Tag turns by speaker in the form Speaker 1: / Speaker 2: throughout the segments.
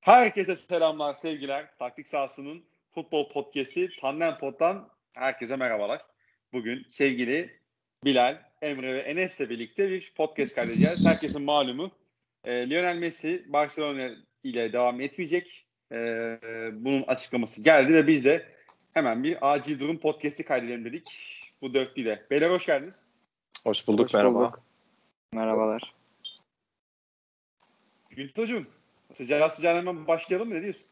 Speaker 1: Herkese selamlar, sevgiler. Taktik sahasının futbol podcast'i Tandem Pod'dan herkese merhabalar. Bugün sevgili Bilal, Emre ve Enes'le birlikte bir podcast kaydedeceğiz. Herkesin malumu e, Lionel Messi Barcelona ile devam etmeyecek. E, bunun açıklaması geldi ve biz de hemen bir acil durum podcast'i kaydedelim dedik. Bu dörtlüyle. Beyler hoş geldiniz.
Speaker 2: Hoş bulduk
Speaker 3: Hoş
Speaker 2: merhaba.
Speaker 3: bulduk. Merhabalar.
Speaker 1: Güntocuğum sıcağı sıcağına hemen başlayalım mı? Ne diyorsun?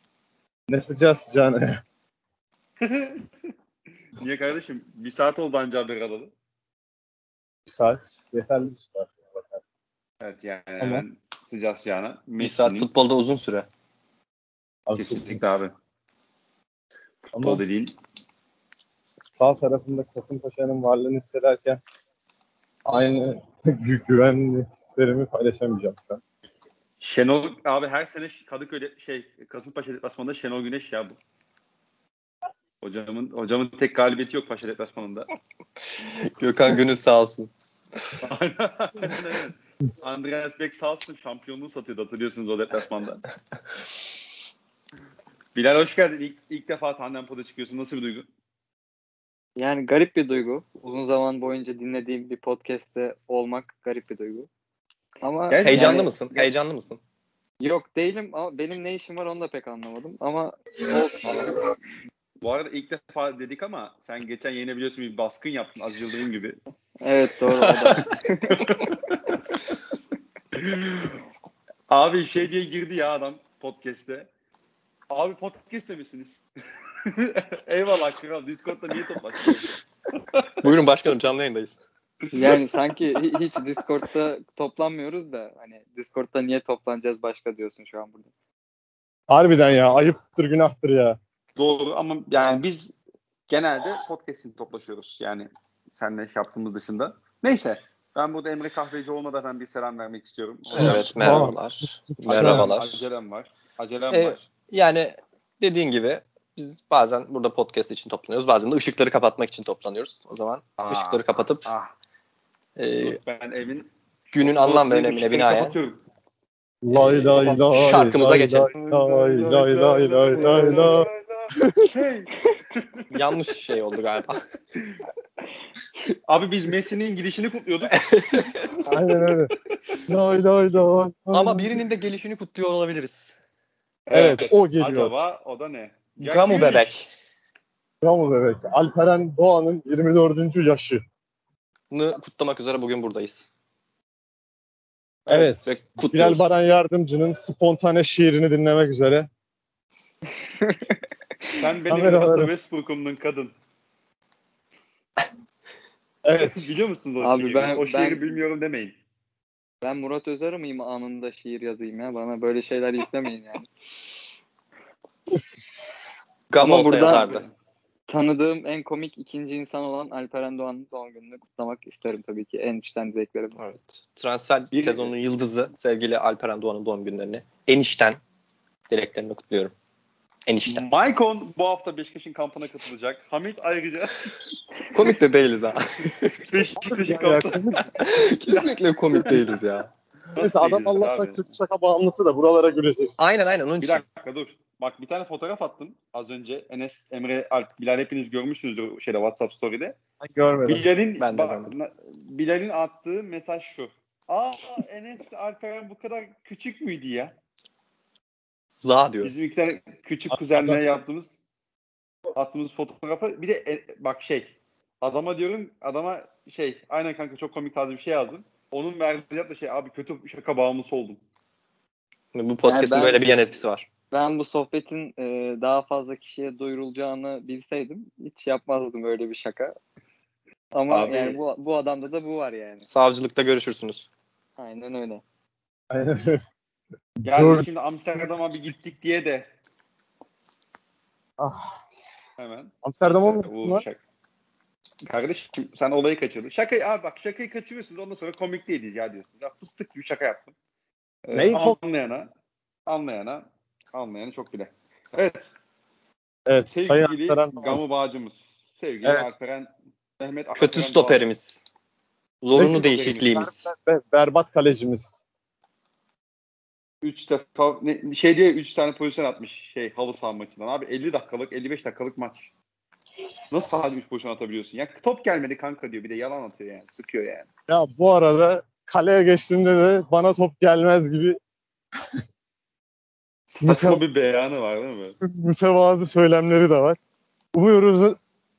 Speaker 2: Ne sıcağı sıcağına.
Speaker 1: Niye kardeşim? Bir saat oldu ancak bir aralı.
Speaker 2: Bir saat yeterli bir saat.
Speaker 1: Evet yani
Speaker 2: Ama-
Speaker 1: hemen sıcağı sıcağına.
Speaker 3: Bir saat
Speaker 1: Messi'nin-
Speaker 3: futbolda uzun süre.
Speaker 2: Abi,
Speaker 1: Kesinlikle abi.
Speaker 2: Ama
Speaker 1: O dediğin
Speaker 2: sağ tarafında Kasımpaşa'nın varlığını hissederken aynı gü- güven hislerimi paylaşamayacağım şu an.
Speaker 1: Şenol abi her sene Kadıköy şey Kasımpaşa deplasmanında Şenol Güneş ya bu. Hocamın hocamın tek galibiyeti yok Paşa deplasmanında.
Speaker 3: Gökhan Gönül sağ olsun.
Speaker 1: Aynen, aynen. Andreas Beck sağ olsun şampiyonluğu satıyordu hatırlıyorsunuz o deplasmanda. Bilal hoş geldin. İlk, ilk defa tandem poda çıkıyorsun. Nasıl bir duygu?
Speaker 3: Yani garip bir duygu. Uzun zaman boyunca dinlediğim bir podcast'te olmak garip bir duygu. Ama
Speaker 1: Gerçekten
Speaker 3: Heyecanlı
Speaker 1: yani-
Speaker 3: mısın? Heyecanlı mısın?
Speaker 4: Yok değilim ama benim ne işim var onu da pek anlamadım. Ama
Speaker 1: Bu arada ilk defa dedik ama sen geçen yayına biliyorsun bir baskın yaptın az Yıldırım gibi.
Speaker 4: evet doğru o da.
Speaker 1: Abi şey diye girdi ya adam podcast'e. Abi podcast misiniz? Eyvallah kral. Discord'da niye toplaştınız?
Speaker 3: Buyurun başkanım canlı yayındayız.
Speaker 4: Yani sanki hi- hiç Discord'da toplanmıyoruz da hani Discord'da niye toplanacağız başka diyorsun şu an burada.
Speaker 2: Harbiden ya ayıptır günahtır ya.
Speaker 1: Doğru ama yani biz genelde podcast için toplaşıyoruz. Yani seninle iş yaptığımız dışında. Neyse. Ben burada Emre Kahveci olmadan ben bir selam vermek istiyorum.
Speaker 3: Evet merhabalar. merhabalar. E,
Speaker 1: Acelem var. Acelem
Speaker 3: Evet.
Speaker 1: var.
Speaker 3: Yani dediğin gibi biz bazen burada podcast için toplanıyoruz. Bazen de ışıkları kapatmak için toplanıyoruz. O zaman
Speaker 1: Aa,
Speaker 3: ışıkları kapatıp
Speaker 1: Ah,
Speaker 3: e,
Speaker 1: ben evin
Speaker 3: günün anlam ve
Speaker 1: Sizin
Speaker 3: önemine
Speaker 1: ışıkları
Speaker 3: binaen
Speaker 1: kapatıyorum.
Speaker 2: Lay lay lay.
Speaker 3: Şarkımıza
Speaker 2: lay,
Speaker 3: geçelim.
Speaker 2: Lay lay lay lay lay lay.
Speaker 1: Hey.
Speaker 3: yanlış şey oldu galiba.
Speaker 1: Abi biz Messi'nin girişini kutluyorduk.
Speaker 2: Aynen öyle. Lay lay lay.
Speaker 3: Ama birinin de gelişini kutluyor olabiliriz.
Speaker 2: Evet o geliyor.
Speaker 1: Acaba o da ne? Jack
Speaker 3: Gamu
Speaker 1: Grealish.
Speaker 3: bebek.
Speaker 2: Bravo bebek. Alperen Doğan'ın 24. yaşı.
Speaker 3: kutlamak üzere bugün buradayız.
Speaker 2: Evet.
Speaker 3: Ve
Speaker 2: Bilal
Speaker 3: kutluyoruz.
Speaker 2: Baran Yardımcı'nın spontane şiirini dinlemek üzere
Speaker 1: Sen benim
Speaker 2: Kameralarım.
Speaker 1: Russell Westbrook'umdun kadın.
Speaker 2: Evet.
Speaker 1: Biliyor musunuz o
Speaker 4: Abi
Speaker 1: şiiri?
Speaker 4: ben-
Speaker 1: o şiiri
Speaker 4: ben-
Speaker 1: bilmiyorum demeyin.
Speaker 4: Ben Murat Özer miyim anında şiir yazayım ya bana böyle şeyler yüklemeyin yani.
Speaker 3: Gamo
Speaker 4: Ama
Speaker 3: olsa
Speaker 4: buradan-
Speaker 3: yazardı.
Speaker 4: Tanıdığım en komik ikinci insan olan Alperen Doğan'ın doğum gününü kutlamak isterim tabii ki en içten dileklerim.
Speaker 3: Evet. Transfer
Speaker 1: Bir-
Speaker 3: sezonunun yıldızı sevgili Alperen Doğan'ın doğum günlerini enişten dileklerini kutluyorum. Enişten.
Speaker 1: Maicon bu hafta Beşiktaş'ın kampına katılacak. Hamit ayrıca
Speaker 3: komik de değiliz ha.
Speaker 1: Beşiktaş'ın
Speaker 2: Ya,
Speaker 1: kampına
Speaker 3: Kesinlikle komik değiliz ya.
Speaker 2: Neyse adam
Speaker 1: Nasıl
Speaker 2: Allah'tan
Speaker 1: abi?
Speaker 2: kötü şaka bağımlısı da buralara gülecek.
Speaker 3: Aynen aynen onun
Speaker 1: Bir
Speaker 3: için.
Speaker 1: dakika dur. Bak bir tane fotoğraf attım az önce. Enes, Emre, Alp, Bilal hepiniz görmüşsünüzdür o şeyde WhatsApp story'de.
Speaker 2: Ben görmedim.
Speaker 1: Bilal'in
Speaker 3: Ben de
Speaker 1: bak-
Speaker 3: görmedim.
Speaker 1: na- Bilal'in attığı mesaj şu. Aa Enes Alperen bu kadar küçük müydü ya?
Speaker 3: Za diyor.
Speaker 1: Bizim iki tane küçük kuzenlere yaptığımız attığımız fotoğrafı bir de e, bak şey adama diyorum adama şey aynen kanka çok komik tarzı bir şey yazdım. Onun verdiği cevap da şey abi kötü şaka bağımlısı oldum.
Speaker 3: Bu podcast'in
Speaker 4: Yani ben-
Speaker 3: böyle bir yan etkisi var.
Speaker 4: Ben bu sohbetin e, daha fazla kişiye duyurulacağını bilseydim hiç yapmazdım öyle bir şaka. Ama
Speaker 1: Abi-
Speaker 4: yani bu, bu adamda da bu var yani.
Speaker 3: Savcılıkta görüşürsünüz.
Speaker 4: Aynen öyle.
Speaker 2: Aynen öyle.
Speaker 1: Yani
Speaker 2: Dur.
Speaker 1: şimdi Amsterdam'a bir gittik diye de
Speaker 2: Ah,
Speaker 1: hemen
Speaker 2: Amsterdam
Speaker 1: e,
Speaker 2: olmadı
Speaker 1: bu
Speaker 2: mı?
Speaker 1: şaka- Kardeşim sen olayı kaçırdın. Şakayı abi bak şakayı kaçırıyorsunuz ondan sonra komik değil ya diyorsunuz. Ya fıstık gibi şaka yaptım. Ee,
Speaker 2: Neyi komik-
Speaker 1: anlayana anlayana anlayana çok bile. Evet.
Speaker 2: Evet. Sayın
Speaker 1: Sevgili
Speaker 2: Alperen Doğan.
Speaker 1: Gamu Bağcımız. Sevgili
Speaker 2: Evet.
Speaker 1: Alperen Mehmet
Speaker 3: Kötü
Speaker 1: Alperen
Speaker 3: stoperimiz.
Speaker 2: Kötü
Speaker 3: Zorunlu
Speaker 1: stoperimiz.
Speaker 3: değişikliğimiz.
Speaker 2: Ve berbat kalecimiz.
Speaker 1: 3 defa ne- şey diye 3 tane pozisyon atmış şey halı saha maçından. Abi 50 dakikalık 55 dakikalık maç. Nasıl sadece 3 pozisyon atabiliyorsun? Ya top gelmedi kanka diyor. Bir de yalan atıyor yani. Sıkıyor yani.
Speaker 2: Ya bu arada kaleye geçtiğinde de bana top gelmez gibi
Speaker 1: Saçma bir beyanı var değil mi?
Speaker 2: mütevazı söylemleri de var. Umuyoruz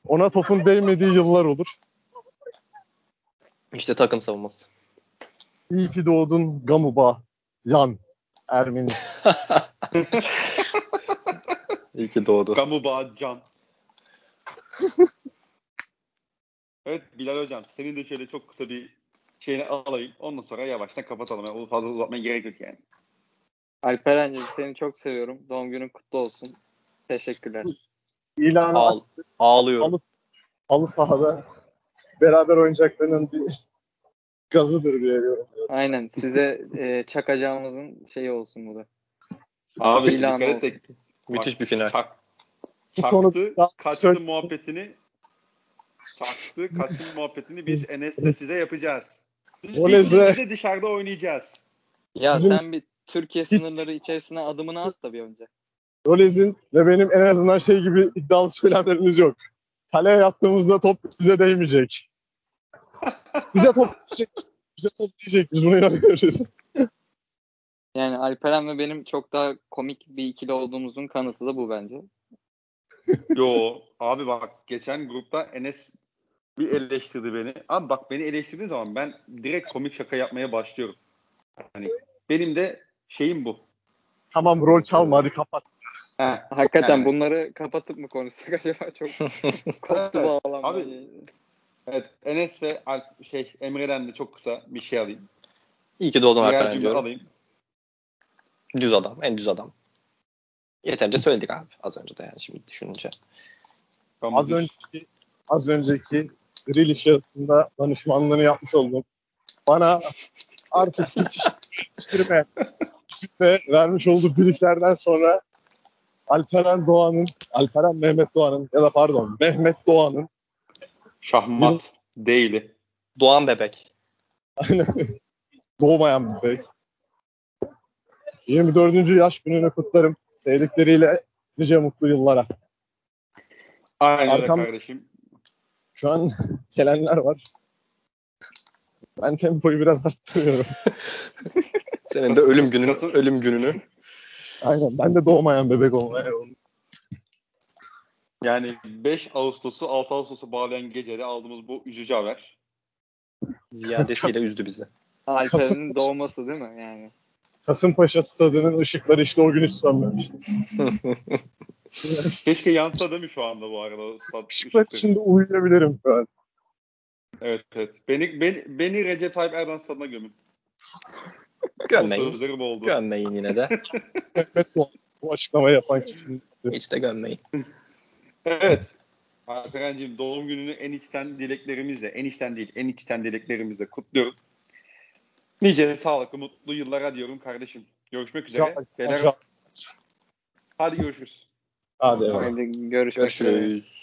Speaker 2: ona topun değmediği yıllar olur.
Speaker 3: İşte takım savunması.
Speaker 2: İyi ki doğdun Gamuba, Yan, Ermeni.
Speaker 3: İyi ki doğdu.
Speaker 1: Gamuba Can. evet Bilal Hocam senin de şöyle çok kısa bir şeyini alayım. Ondan sonra yavaştan kapatalım. Yani onu fazla uzatmaya gerek yok yani.
Speaker 4: Alperen'cim seni çok seviyorum. Doğum günün kutlu olsun. Teşekkürler.
Speaker 2: İlanı aç,
Speaker 3: Ağl- ağlıyorum.
Speaker 2: halı, halı sahada beraber oynayacaklarının bir gazıdır diye diyorum.
Speaker 4: Aynen size e, çakacağımızın şeyi olsun bu da.
Speaker 1: Abi
Speaker 4: İlan
Speaker 1: dikkat et de
Speaker 3: Müthiş bir final.
Speaker 1: çak,
Speaker 2: Bu
Speaker 1: çaktı,
Speaker 2: konuda-
Speaker 1: kaçtı muhabbetini çaktı, kaçtı muhabbetini biz Enes'le size yapacağız. Biz
Speaker 2: Oleze.
Speaker 1: biz de dışarıda oynayacağız.
Speaker 4: Ya
Speaker 2: Bizim-
Speaker 4: sen bir Türkiye sınırları içerisine adımını at da bir önce.
Speaker 2: Rolez'in ve benim en azından şey gibi iddialı söylemlerimiz yok. Kaleye yattığımızda top bize değmeyecek. Bize top diyecek. Bize top diyecek. Biz buna inanıyoruz.
Speaker 4: Yani Alperen ve benim çok daha komik bir ikili olduğumuzun kanıtı da bu bence.
Speaker 1: Yo abi bak geçen grupta Enes bir eleştirdi beni. Abi bak beni eleştirdiği zaman ben direkt komik şaka yapmaya başlıyorum. Hani benim de şeyim bu.
Speaker 2: Tamam rol çalma hadi kapat.
Speaker 1: Heh.
Speaker 4: Hakikaten
Speaker 1: Yani.
Speaker 4: bunları kapatıp mı konuşsak acaba çok koptu
Speaker 1: Evet,
Speaker 4: bağlam.
Speaker 1: abi.
Speaker 4: Yani.
Speaker 1: Evet Enes ve Alp- şey Emre'den de çok kısa bir şey alayım.
Speaker 3: İyi ki doğdun
Speaker 1: Birer
Speaker 3: Alperen
Speaker 1: cümle
Speaker 3: diyorum.
Speaker 1: alayım.
Speaker 3: Düz adam. En düz adam. Yeterince söyledik abi az önce de yani şimdi düşününce.
Speaker 1: Tamam,
Speaker 2: Az
Speaker 1: düz.
Speaker 2: önceki az önceki grill yarısında danışmanlığını yapmış oldum. Bana artık hiç iştirme de vermiş olduğu bilgilerden sonra Alperen Doğan'ın, Alperen Mehmet Doğan'ın ya da pardon Mehmet Doğan'ın
Speaker 1: Şahmat değili.
Speaker 3: Doğan bebek.
Speaker 2: Aynen. Doğmayan bir bebek. 24. yaş gününü kutlarım. Sevdikleriyle nice mutlu yıllara.
Speaker 1: Aynen öyle
Speaker 2: Arkam-
Speaker 1: kardeşim.
Speaker 2: Şu an gelenler var. Ben tempoyu biraz arttırıyorum.
Speaker 3: Senin de ölüm gününü,
Speaker 1: Nasıl?
Speaker 3: ölüm gününü.
Speaker 2: Aynen ben de doğmayan bebek olmaya yolum.
Speaker 1: Yani 5 Ağustos'u 6 Ağustos'u bağlayan gecede aldığımız bu üzücü haber.
Speaker 3: Ziyadesiyle üzdü bizi.
Speaker 4: Alperen'in doğması değil mi yani?
Speaker 2: Kasımpaşa stadının ışıkları işte o gün hiç sönmemiş.
Speaker 1: Keşke yansa değil mi şu anda bu arada? Stat-
Speaker 2: Işıklar
Speaker 1: ışıkları?
Speaker 2: içinde uyuyabilirim şu an.
Speaker 1: Evet evet. Beni, beni, beni Recep Tayyip Erdoğan stadına gömün. Bu
Speaker 3: Gömmeyin.
Speaker 1: sözlerim oldu.
Speaker 3: Gömmeyin yine de.
Speaker 2: Mehmet Doğan bu açıklamayı yapan kişi.
Speaker 3: Hiç de gömmeyin.
Speaker 1: Evet. Alperen'cim doğum gününü en içten dileklerimizle, en içten değil en içten dileklerimizle kutluyorum. Nice sağlıklı, mutlu yıllara diyorum kardeşim. Görüşmek üzere. Beyler,
Speaker 2: Hadi.
Speaker 1: hadi görüşürüz.
Speaker 2: Hadi. eyvallah.
Speaker 4: Hadi görüşmek üzere.
Speaker 3: Görüşürüz.